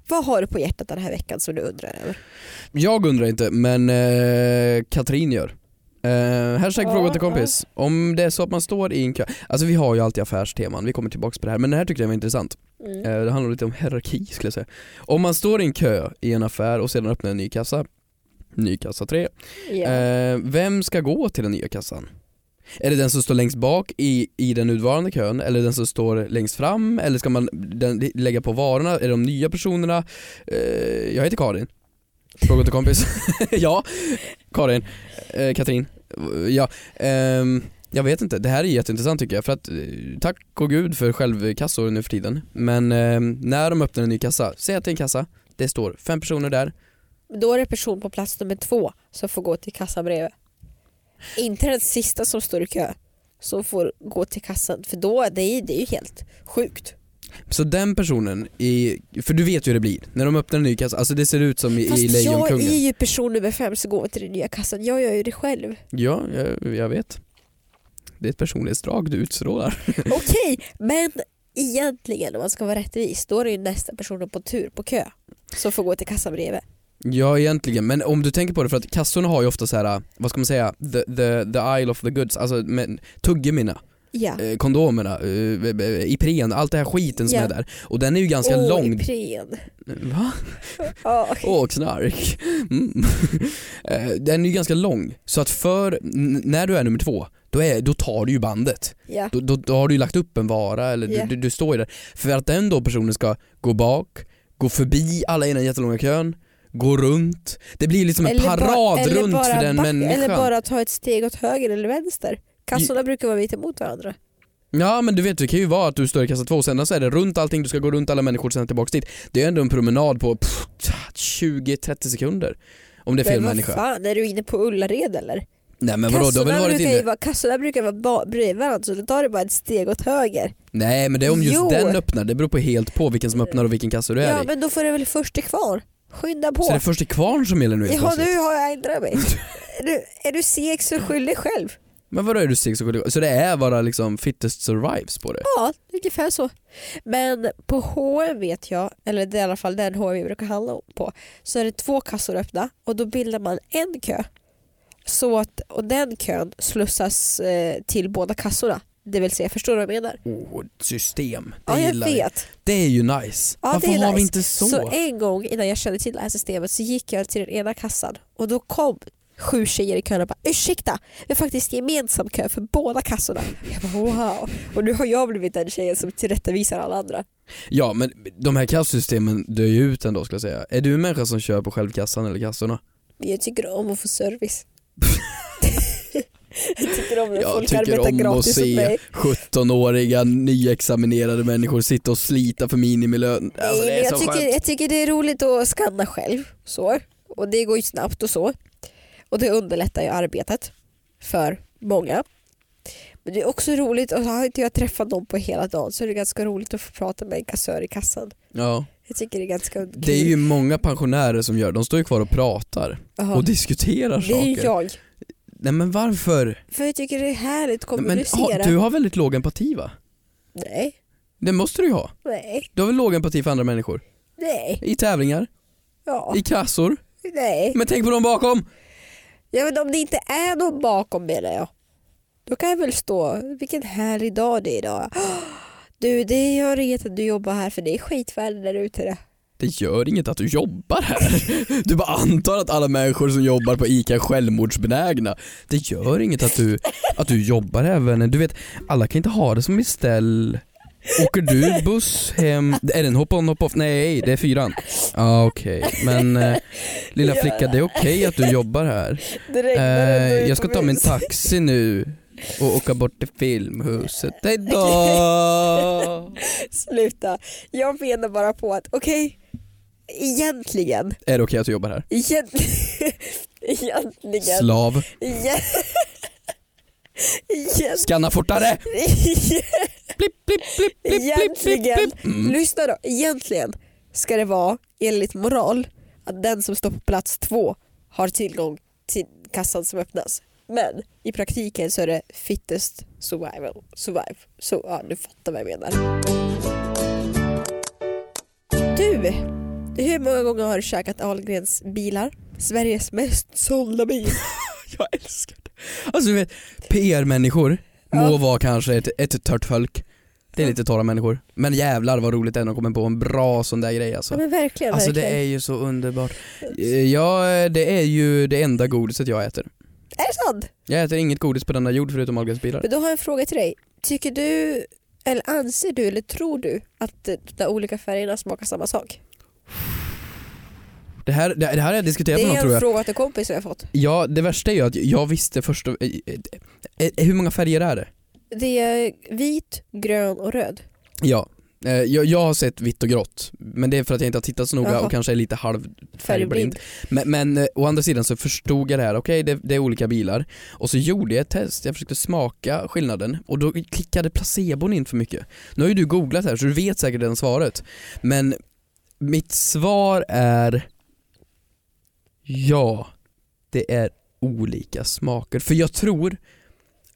[SPEAKER 3] Vad har du på hjärtat den här veckan som du undrar över?
[SPEAKER 2] Jag undrar inte, men eh, Katrin gör. Eh, hashtag
[SPEAKER 3] Ja,
[SPEAKER 2] fråga till kompis. Om det är så att man står i en kö, alltså vi har ju alltid affärsteman, vi kommer tillbaka på det här, men det här tyckte jag var intressant.
[SPEAKER 3] Mm.
[SPEAKER 2] Eh, det handlar lite om hierarki skulle jag säga. Om man står i en kö i en affär och sedan öppnar en ny kassa, ny kassa 3,
[SPEAKER 3] Ja.
[SPEAKER 2] eh, vem ska gå till den nya kassan? Är det den som står längst bak i, i den nuvarande kön eller den som står längst fram eller ska man den, lägga på varorna? Är det de nya personerna? Eh, jag heter Karin. Fråga till kompis. ja, Karin. Eh, Katrin. Ja, ehm, jag vet inte. Det här är jätteintressant tycker jag för att eh, tack och gud för självkassor nu för tiden. Men ehm, när de öppnar en ny kassa, säg att det är en kassa, det står fem personer där,
[SPEAKER 3] Då är det person på plats nummer två som får gå till kassan bredvid. Inte den sista som står i kö som får gå till kassan för då det är det är ju helt sjukt.
[SPEAKER 2] Så den personen, i, för du vet ju hur det blir, när de öppnar en ny kassa, alltså det ser ut som i,
[SPEAKER 3] Fast
[SPEAKER 2] i
[SPEAKER 3] jag
[SPEAKER 2] Lejonkungen.
[SPEAKER 3] är ju person nummer fem som går till den nya kassan. Jag gör ju det själv.
[SPEAKER 2] Ja, jag, jag vet. Det är ett personlighetsdrag du utstrålar.
[SPEAKER 3] Okej, men egentligen om man ska vara rättvis då är det ju nästa person på tur på kö som får gå till kassan bredvid.
[SPEAKER 2] Ja egentligen, men om du tänker på det för att kassorna har ju ofta så här, vad ska man säga, the, the, the aisle of the goods, alltså med tuggummina,
[SPEAKER 3] Ja.
[SPEAKER 2] eh, kondomerna, eh, eh, Ipren, allt det här skiten som
[SPEAKER 3] Ja.
[SPEAKER 2] är där. Och den är ju ganska
[SPEAKER 3] Åh,
[SPEAKER 2] lång.
[SPEAKER 3] Ipren.
[SPEAKER 2] Va?
[SPEAKER 3] Ja, okej.
[SPEAKER 2] Åh, knark. Mm. Eh, den är ju ganska lång, så att för, n- när du är nummer två, då, är, då tar du ju bandet.
[SPEAKER 3] ja.
[SPEAKER 2] då, då, då har du ju lagt upp en vara eller
[SPEAKER 3] Ja.
[SPEAKER 2] du, du, du står ju där. För att den då personen ska gå bak, gå förbi alla i den jättelånga kön, gå runt. Det blir liksom en
[SPEAKER 3] bara-
[SPEAKER 2] parad
[SPEAKER 3] eller
[SPEAKER 2] runt
[SPEAKER 3] bara
[SPEAKER 2] för den
[SPEAKER 3] back-
[SPEAKER 2] människan.
[SPEAKER 3] Eller bara ta ett steg åt höger eller vänster. Kassorna brukar vara mitt emot varandra.
[SPEAKER 2] Ja men du vet det kan ju vara att du står i kassa två och sen så är det runt allting, du ska gå runt alla människor sen tillbaks dit. Det är ändå en promenad på pff, 20-30 sekunder. Om det är fel
[SPEAKER 3] men
[SPEAKER 2] människa.
[SPEAKER 3] vad fan, är du inne på Ullared eller?
[SPEAKER 2] Nej men vadå, du har väl varit
[SPEAKER 3] brukar ju
[SPEAKER 2] inne?
[SPEAKER 3] vara, kassorna brukar vara ba- bredvid varandra så då tar du bara ett steg åt höger.
[SPEAKER 2] Nej men det är om just
[SPEAKER 3] Jo.
[SPEAKER 2] den öppnar, det beror på helt på vilken som öppnar och vilken kassa du är
[SPEAKER 3] Ja
[SPEAKER 2] i.
[SPEAKER 3] men då får du väl först till kvarn. Skynda
[SPEAKER 2] Så det är
[SPEAKER 3] på.
[SPEAKER 2] först till kvarn som gäller nu alltså. helt
[SPEAKER 3] Ja
[SPEAKER 2] plötsligt.
[SPEAKER 3] nu har jag ändrat mig. är, du, är du seg så skyll dig själv.
[SPEAKER 2] Men vadå är du seg så går det- Så det är bara liksom fittest survives på det?
[SPEAKER 3] Ja, ungefär så. Men på H&M vet jag, eller det är i alla fall den H&M vi brukar handla på, så är det två kassor öppna och då bildar man en kö. Så att, och den kön slussas eh, till båda kassorna. Det vill säga, förstår du vad jag menar?
[SPEAKER 2] Oh, system, det
[SPEAKER 3] Ja, jag
[SPEAKER 2] gillar jag.
[SPEAKER 3] vet.
[SPEAKER 2] Det är ju nice.
[SPEAKER 3] Ja,
[SPEAKER 2] Varför
[SPEAKER 3] det är
[SPEAKER 2] har vi
[SPEAKER 3] nice.
[SPEAKER 2] inte så?
[SPEAKER 3] en gång innan jag kände till det här systemet så gick jag till den ena kassan och då kom sju tjejer i kön och bara ursäkta, vi har faktiskt gemensam kö för båda kassorna. Jag bara wow. Och nu har jag blivit den tjejen som tillrättavisar alla andra.
[SPEAKER 2] Ja men de här kassasystemen dör ju ut ändå skulle jag säga. Är du en människa som kör på självkassan eller kassorna?
[SPEAKER 3] Men jag tycker om att få service. jag tycker om när
[SPEAKER 2] Jag
[SPEAKER 3] folk arbetar
[SPEAKER 2] tycker
[SPEAKER 3] gratis
[SPEAKER 2] om att
[SPEAKER 3] åt mig.
[SPEAKER 2] se 17-åriga nyexaminerade människor sitta och slita för minimilön. Alltså, det
[SPEAKER 3] Nej,
[SPEAKER 2] är
[SPEAKER 3] men
[SPEAKER 2] så
[SPEAKER 3] jag, tycker,
[SPEAKER 2] skönt.
[SPEAKER 3] jag tycker det är roligt att skanna själv. Så. Och Det går ju snabbt och så. Och Det underlättar ju arbetet för många. Men det är också roligt, och har inte jag träffat någon på hela dagen så är det ganska roligt att få prata med en kassör i kassan.
[SPEAKER 2] Ja.
[SPEAKER 3] Jag tycker det är ganska kul.
[SPEAKER 2] Det är ju många pensionärer som gör de står ju kvar och pratar
[SPEAKER 3] Jaha.
[SPEAKER 2] och diskuterar
[SPEAKER 3] Det är ju
[SPEAKER 2] saker.
[SPEAKER 3] jag.
[SPEAKER 2] Nej men varför?
[SPEAKER 3] För jag tycker det är härligt att
[SPEAKER 2] Nej, Men,
[SPEAKER 3] kommunicera.
[SPEAKER 2] ha, du har väldigt låg empati va?
[SPEAKER 3] Nej,
[SPEAKER 2] Det måste du ju ha.
[SPEAKER 3] nej,
[SPEAKER 2] Du har väl låg empati för andra människor?
[SPEAKER 3] nej,
[SPEAKER 2] I tävlingar,
[SPEAKER 3] ja,
[SPEAKER 2] i kassor.
[SPEAKER 3] nej.
[SPEAKER 2] Men tänk på dem bakom!
[SPEAKER 3] Ja, men om det inte är någon bakom menar jag. Då kan jag väl stå, vilken härlig dag det är idag. Du, det gör inget att du jobbar här för det är skitväder där ute. det.
[SPEAKER 2] Det gör inget att du jobbar här. Du bara antar att alla människor som jobbar på ICA är självmordsbenägna. Det gör inget att du, att du jobbar här vännen. Du vet, alla kan inte ha det som beställ. Åker du buss hem? Är det en hopp-on hopp-off? Nej, det är fyran. Ja okej, men eh, lilla flicka det är okej att du jobbar här.
[SPEAKER 3] Det
[SPEAKER 2] Eh, jag ska ta min
[SPEAKER 3] utomhus.
[SPEAKER 2] taxi nu och åka bort till filmhuset. Hejdå!
[SPEAKER 3] Sluta. Jag menar bara på att okej, egentligen,
[SPEAKER 2] Är det okej att du jobbar här?
[SPEAKER 3] egentligen, egentligen,
[SPEAKER 2] Slav.
[SPEAKER 3] igen- igen-
[SPEAKER 2] Skanna fortare! Blipp, blipp, blipp, blipp, blipp, blipp,
[SPEAKER 3] Egentligen,
[SPEAKER 2] blipp. Mm.
[SPEAKER 3] lyssna då, egentligen ska det vara enligt moral att den som står på plats två har tillgång till kassan som öppnas. Men i praktiken så är det fittest survival, survive. Så ja, du fattar vad jag menar. Du, hur många gånger har du käkat Ahlgrens bilar? Sveriges mest sålda bil.
[SPEAKER 2] Jag älskar det. Alltså du vet, PR-människor må
[SPEAKER 3] Ja.
[SPEAKER 2] vara kanske ett, ett tört folk. Det är lite torra människor. Men jävlar vad roligt det är när de kommer på en bra sån där grej alltså.
[SPEAKER 3] Ja, men verkligen,
[SPEAKER 2] Alltså det
[SPEAKER 3] verkligen.
[SPEAKER 2] är ju så underbart. Eh, Ja, det är ju det enda godiset jag äter.
[SPEAKER 3] Är det sant?
[SPEAKER 2] Jag äter inget godis på denna jord förutom Ahlgrens bilar.
[SPEAKER 3] Men då har jag en fråga till dig. Tycker du, eller anser du, eller tror du att eh, de där olika färgerna smakar samma sak?
[SPEAKER 2] Det här, det, det här har jag
[SPEAKER 3] Det
[SPEAKER 2] diskuterat med någon
[SPEAKER 3] är
[SPEAKER 2] tror
[SPEAKER 3] en
[SPEAKER 2] jag.
[SPEAKER 3] fråga till kompis som jag fått.
[SPEAKER 2] Ja, det värsta är ju att jag visste först och, eh, eh, eh, Hur många färger är det?
[SPEAKER 3] Det är vit, grön och röd.
[SPEAKER 2] Ja, eh, jag, jag har sett vitt och grått men det är för att jag inte har tittat så noga
[SPEAKER 3] Jaha.
[SPEAKER 2] och kanske är lite halv
[SPEAKER 3] Färgblind.
[SPEAKER 2] färgblind. Men, men eh, å andra sidan så förstod jag det här, okej det, det är olika bilar och så gjorde jag ett test, jag försökte smaka skillnaden och då klickade placebon in för mycket. Nu har ju du googlat här så du vet säkert redan svaret men mitt svar är ja, det är olika smaker för jag tror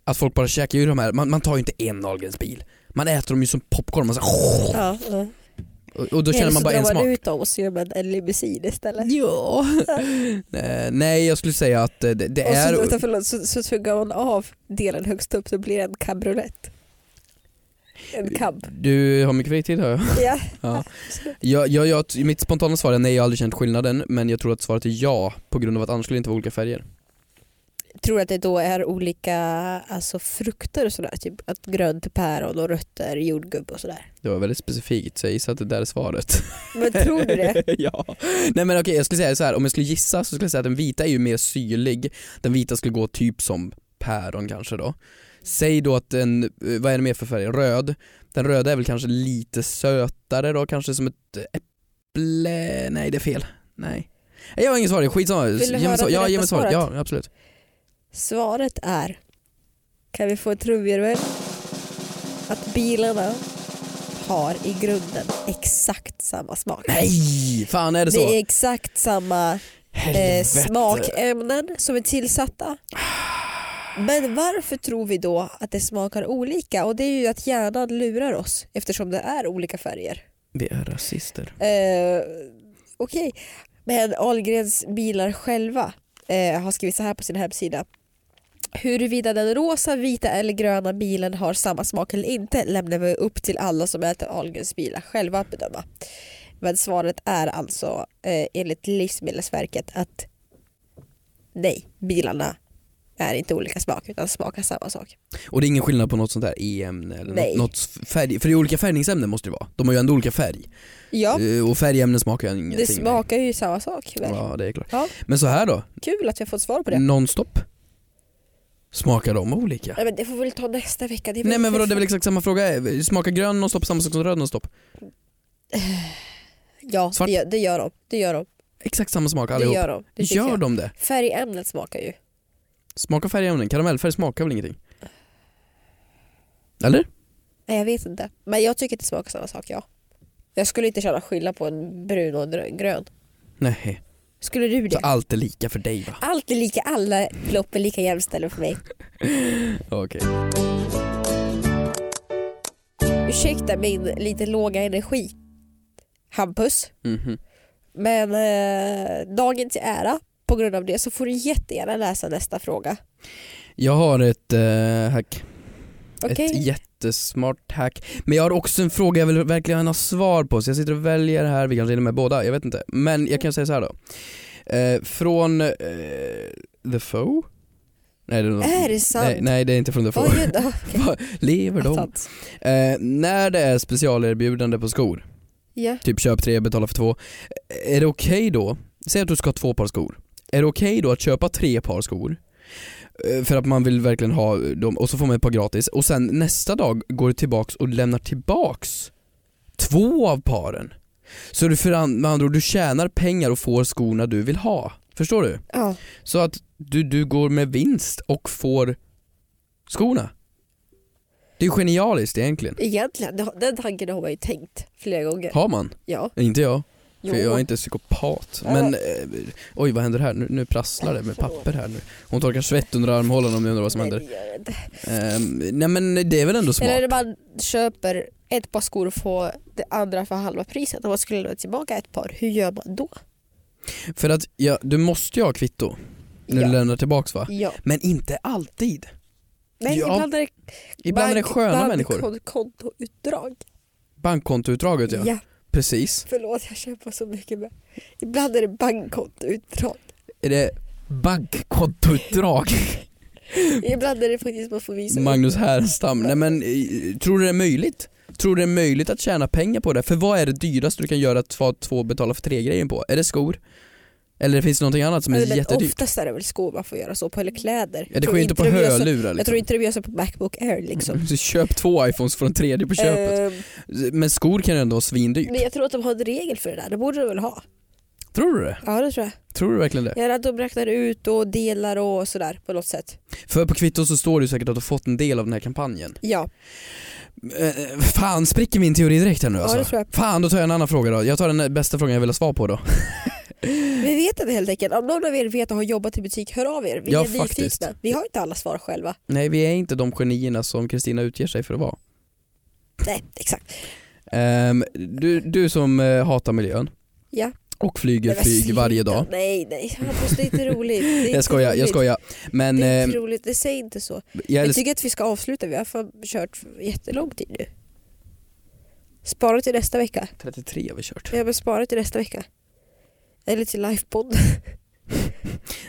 [SPEAKER 2] att folk bara käkar ju de här, man, man tar ju inte en Ahlgrens bil man äter dem ju som popcorn, man så här,
[SPEAKER 3] Ja, ja.
[SPEAKER 2] och, och då känner man bara en
[SPEAKER 3] Eller så drar
[SPEAKER 2] smak.
[SPEAKER 3] man ut dem och så gör man en limousin istället.
[SPEAKER 2] Ja. Eh, Nej jag skulle säga att eh, det, det
[SPEAKER 3] Och så,
[SPEAKER 2] är...
[SPEAKER 3] vänta, förlåt, så, så tuggar man av delen högst upp så blir det en cabriolet. En cab.
[SPEAKER 2] Du har mycket fritid hör jag.
[SPEAKER 3] Ja.
[SPEAKER 2] Ja. Jag, jag, jag. Mitt spontana svar är nej jag har aldrig känt skillnaden men jag tror att svaret är ja på grund av att annars skulle det inte vara olika färger.
[SPEAKER 3] Tror du att det då är olika alltså, frukter och sådär? Typ att grönt är päron och rött är jordgubb och sådär.
[SPEAKER 2] Det var väldigt specifikt så jag gissar att det där är svaret.
[SPEAKER 3] Men tror du det?
[SPEAKER 2] ja. Nej men okej jag skulle säga så här. om jag skulle gissa så skulle jag säga att den vita är ju mer syrlig. Den vita skulle gå typ som päron kanske då. Säg då att den, eh, vad är det mer för färg? Röd. Den röda är väl kanske lite sötare då, kanske som ett äpple. Nej det är fel. Nej. Jag har inget svar, skitsamma.
[SPEAKER 3] du
[SPEAKER 2] Ge mig
[SPEAKER 3] höra
[SPEAKER 2] svar-
[SPEAKER 3] det
[SPEAKER 2] Ja,
[SPEAKER 3] rätta
[SPEAKER 2] ge mig svaret.
[SPEAKER 3] svaret?
[SPEAKER 2] Ja, absolut.
[SPEAKER 3] Svaret är, kan vi få en trumvirvel? Att bilarna har i grunden exakt samma smak.
[SPEAKER 2] Nej! Fan är det
[SPEAKER 3] det,
[SPEAKER 2] så?
[SPEAKER 3] är eh, exakt samma eh,
[SPEAKER 2] Helvete.
[SPEAKER 3] smakämnen som är tillsatta. Men varför tror vi då att det smakar olika? Och det är ju att hjärnan lurar oss eftersom det är olika färger.
[SPEAKER 2] Vi är rasister.
[SPEAKER 3] Eh, Okej, men Ahlgrens bilar själva eh, har skrivit så här på sin hemsida. Huruvida den rosa, vita eller gröna bilen har samma smak eller inte lämnar vi upp till alla som äter Ahlgrens bilar själva att bedöma. Men svaret är alltså eh, enligt Livsmedelsverket att nej, bilarna är inte olika smak utan smakar samma sak.
[SPEAKER 2] Och det är ingen skillnad på något sånt här e-ämne eller
[SPEAKER 3] Nej.
[SPEAKER 2] något, något färg, för det är olika färgningsämnen måste det vara. De har ju ändå olika färg.
[SPEAKER 3] Ja,
[SPEAKER 2] Eh, Och färgämnen smakar ju
[SPEAKER 3] det
[SPEAKER 2] ingenting.
[SPEAKER 3] smakar ju samma sak. Väl?
[SPEAKER 2] Ja det är klart.
[SPEAKER 3] Ja.
[SPEAKER 2] Men så här då,
[SPEAKER 3] Kul att vi har fått svar på det.
[SPEAKER 2] nonstop? Smakar de olika?
[SPEAKER 3] Nej, men det får vi väl ta nästa vecka. Det är väl
[SPEAKER 2] Nej men vadå det är
[SPEAKER 3] för-
[SPEAKER 2] väl exakt samma fråga, Eh, smakar grön nonstop samma sak som röd nonstop?
[SPEAKER 3] Ja,
[SPEAKER 2] liksom Svart?
[SPEAKER 3] det gör, det gör de. Det gör de.
[SPEAKER 2] Exakt samma smak
[SPEAKER 3] Det
[SPEAKER 2] allihop.
[SPEAKER 3] gör de. Det tycker
[SPEAKER 2] Gör
[SPEAKER 3] jag.
[SPEAKER 2] de det?
[SPEAKER 3] Färgämnet smakar ju.
[SPEAKER 2] Smakar färgämnen? Karamellfärg smakar väl ingenting? Eller?
[SPEAKER 3] Nej jag vet inte. Men jag tycker det smakar samma sak ja. Jag skulle inte känna skillnad på en brun och en drö- grön.
[SPEAKER 2] Nej.
[SPEAKER 3] Skulle du
[SPEAKER 2] Så
[SPEAKER 3] det?
[SPEAKER 2] allt är lika för dig va?
[SPEAKER 3] Allt är lika, alla lopp är lika jämställda för mig.
[SPEAKER 2] Okej.
[SPEAKER 3] Ursäkta min lite låga energi. Hampus.
[SPEAKER 2] Mhm.
[SPEAKER 3] Men eh, dagen till ära på grund av det så får du jättegärna läsa nästa fråga.
[SPEAKER 2] Jag har ett eh, hack.
[SPEAKER 3] Okej?
[SPEAKER 2] Ett jättesmart hack. Men jag har också en fråga jag vill verkligen ha svar på, så jag sitter och väljer här, vi kanske hinner med båda, jag vet inte. Men jag kan säga så här då. Eh, från eh, The Foe? Nej det är, nog-
[SPEAKER 3] Är det Äh, sant?
[SPEAKER 2] nej, nej det är inte från The Foe.
[SPEAKER 3] Oj, då. Okej.
[SPEAKER 2] Lever de?
[SPEAKER 3] Attans.
[SPEAKER 2] Eh, när det är specialerbjudande på skor,
[SPEAKER 3] Ja.
[SPEAKER 2] typ köp tre, betala för två. Är det okej då, säg att du ska ha två par skor. Är det okej då att köpa tre par skor? Eh, För att man vill verkligen ha dem och så får man ett par gratis och sen nästa dag går du tillbaks och lämnar tillbaks två av paren. Så du för an- med andra ord, du tjänar pengar och får skorna du vill ha. Förstår du?
[SPEAKER 3] ja.
[SPEAKER 2] Så att du, du går med vinst och får skorna. Det är genialiskt egentligen.
[SPEAKER 3] Egentligen, det- den tanken har man ju tänkt flera gånger.
[SPEAKER 2] Har man?
[SPEAKER 3] Ja.
[SPEAKER 2] Inte jag. För
[SPEAKER 3] Jo.
[SPEAKER 2] jag är inte psykopat.
[SPEAKER 3] Ja.
[SPEAKER 2] Men eh, oj vad händer här? Nu, nu prasslar det med papper här nu. Hon torkar svett under armhålan om ni undrar vad som
[SPEAKER 3] Alltså. Nej,
[SPEAKER 2] händer.
[SPEAKER 3] det gör det inte.
[SPEAKER 2] Ehm, nej men det är väl ändå smart.
[SPEAKER 3] Eller när man köper ett par skor och får det andra för halva priset. Om man skulle lämna tillbaka ett par, hur gör man då?
[SPEAKER 2] För att ja, du måste ju ha kvitto när
[SPEAKER 3] Ja.
[SPEAKER 2] du lämnar tillbaks va?
[SPEAKER 3] Ja.
[SPEAKER 2] Men inte alltid.
[SPEAKER 3] Nej,
[SPEAKER 2] Ja.
[SPEAKER 3] ibland är det,
[SPEAKER 2] Ibland är det
[SPEAKER 3] bank-
[SPEAKER 2] sköna
[SPEAKER 3] bank-
[SPEAKER 2] människor.
[SPEAKER 3] kon- kontoutdrag.
[SPEAKER 2] Bankkontoutdraget ja.
[SPEAKER 3] Ja,
[SPEAKER 2] Precis.
[SPEAKER 3] förlåt jag kämpar så mycket med. Ibland är det bankkontoutdrag.
[SPEAKER 2] Är det bankkontoutdrag?
[SPEAKER 3] Ibland är det faktiskt man får visa upp.
[SPEAKER 2] Magnus Härenstam. Nej men eh, tror du det är möjligt? Tror du det är möjligt att tjäna pengar på det? För vad är det dyraste du kan göra att få två betala för tre grejen på? Är det skor? Eller finns det någonting annat som är
[SPEAKER 3] Ja, men
[SPEAKER 2] jättedyrt?
[SPEAKER 3] Oftast är Alltså, det väl skor man får göra så på, eller kläder.
[SPEAKER 2] Ja, det
[SPEAKER 3] Jag
[SPEAKER 2] sker
[SPEAKER 3] tror
[SPEAKER 2] ju inte på
[SPEAKER 3] de gör så-
[SPEAKER 2] hörlurar
[SPEAKER 3] Jag
[SPEAKER 2] liksom.
[SPEAKER 3] tror inte de gör så på Macbook Air liksom.
[SPEAKER 2] Så köp två iPhones från tredje på köpet.
[SPEAKER 3] Ehm,
[SPEAKER 2] Men skor kan ju ändå vara svindyrt.
[SPEAKER 3] men jag tror att de har en regel för det där, det borde de väl ha?
[SPEAKER 2] Tror du det?
[SPEAKER 3] Ja det tror jag.
[SPEAKER 2] Tror du verkligen det?
[SPEAKER 3] Jag är rädd att de räknar ut och delar och sådär på något sätt.
[SPEAKER 2] För på kvittot så står det ju säkert att du har fått en del av den här kampanjen.
[SPEAKER 3] Ja,
[SPEAKER 2] Eh, Fan, spricker min teori direkt här nu
[SPEAKER 3] ja det
[SPEAKER 2] alltså?
[SPEAKER 3] tror jag.
[SPEAKER 2] Fan, då tar jag en annan fråga då. Jag tar den bästa frågan jag vill ha svar på då.
[SPEAKER 3] Vi vet inte helt enkelt. Om någon av er vet och har jobbat i butik, hör av er. Vi
[SPEAKER 2] Ja,
[SPEAKER 3] är
[SPEAKER 2] faktiskt.
[SPEAKER 3] nyfikna. Vi har inte alla svar själva.
[SPEAKER 2] Nej, vi är inte de genierna som Kristina utger sig för att vara.
[SPEAKER 3] Nej, exakt.
[SPEAKER 2] Ehm, du, du som eh, hatar miljön
[SPEAKER 3] Ja.
[SPEAKER 2] och flyger
[SPEAKER 3] Nej, men
[SPEAKER 2] flyg
[SPEAKER 3] sluta.
[SPEAKER 2] varje dag.
[SPEAKER 3] Nej, nej. Hampus, det är inte roligt. Det är inte
[SPEAKER 2] Jag skojar, jag
[SPEAKER 3] roligt.
[SPEAKER 2] skojar. Men
[SPEAKER 3] Det är
[SPEAKER 2] eh,
[SPEAKER 3] inte roligt, det säger inte så.
[SPEAKER 2] jag,
[SPEAKER 3] Jag
[SPEAKER 2] älsk-
[SPEAKER 3] tycker att vi ska avsluta, vi har fan kört jättelång tid nu. Spara till nästa vecka.
[SPEAKER 2] 33 har vi kört.
[SPEAKER 3] Ja men spara till nästa vecka. Eller till livepodd.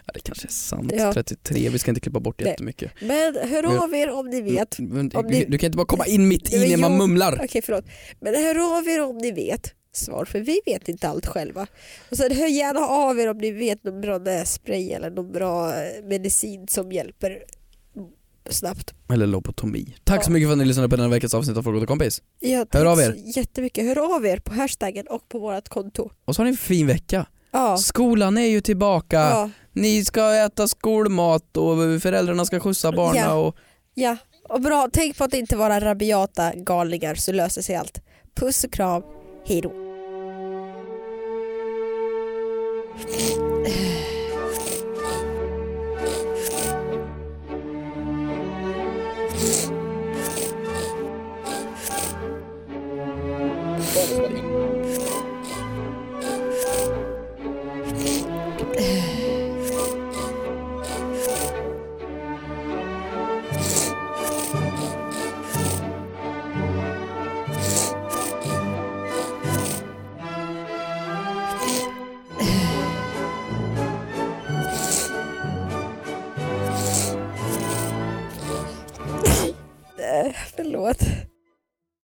[SPEAKER 2] Ja, det kanske är sant.
[SPEAKER 3] Ja.
[SPEAKER 2] 33, vi ska inte klippa bort
[SPEAKER 3] Nej.
[SPEAKER 2] jättemycket.
[SPEAKER 3] Men hör av er om ni vet.
[SPEAKER 2] Men,
[SPEAKER 3] Om
[SPEAKER 2] du,
[SPEAKER 3] ni-
[SPEAKER 2] du kan inte bara komma in mitt i
[SPEAKER 3] Nej, men
[SPEAKER 2] när man
[SPEAKER 3] jag-
[SPEAKER 2] mumlar.
[SPEAKER 3] Okej förlåt. Men hör av er om ni vet svar för vi vet inte allt själva. Och sen hör gärna av er om ni vet någon bra nässpray eller någon bra eh, medicin som hjälper snabbt.
[SPEAKER 2] Eller lobotomi. Tack så mycket för att ni lyssnade på denna veckas avsnitt av Frågor till kompis.
[SPEAKER 3] Jag
[SPEAKER 2] Hör av er.
[SPEAKER 3] Jättemycket. Hör av er på hashtaggen och på vårt konto.
[SPEAKER 2] Och så har ni en fin vecka.
[SPEAKER 3] Ja.
[SPEAKER 2] Skolan är ju tillbaka.
[SPEAKER 3] Ja.
[SPEAKER 2] Ni ska äta skolmat och föräldrarna ska skjutsa barnen.
[SPEAKER 3] Ja.
[SPEAKER 2] Och...
[SPEAKER 3] ja. Och bra. Tänk på att inte vara rabiata galningar så löser sig allt. Puss och kram. Hej då. Eh,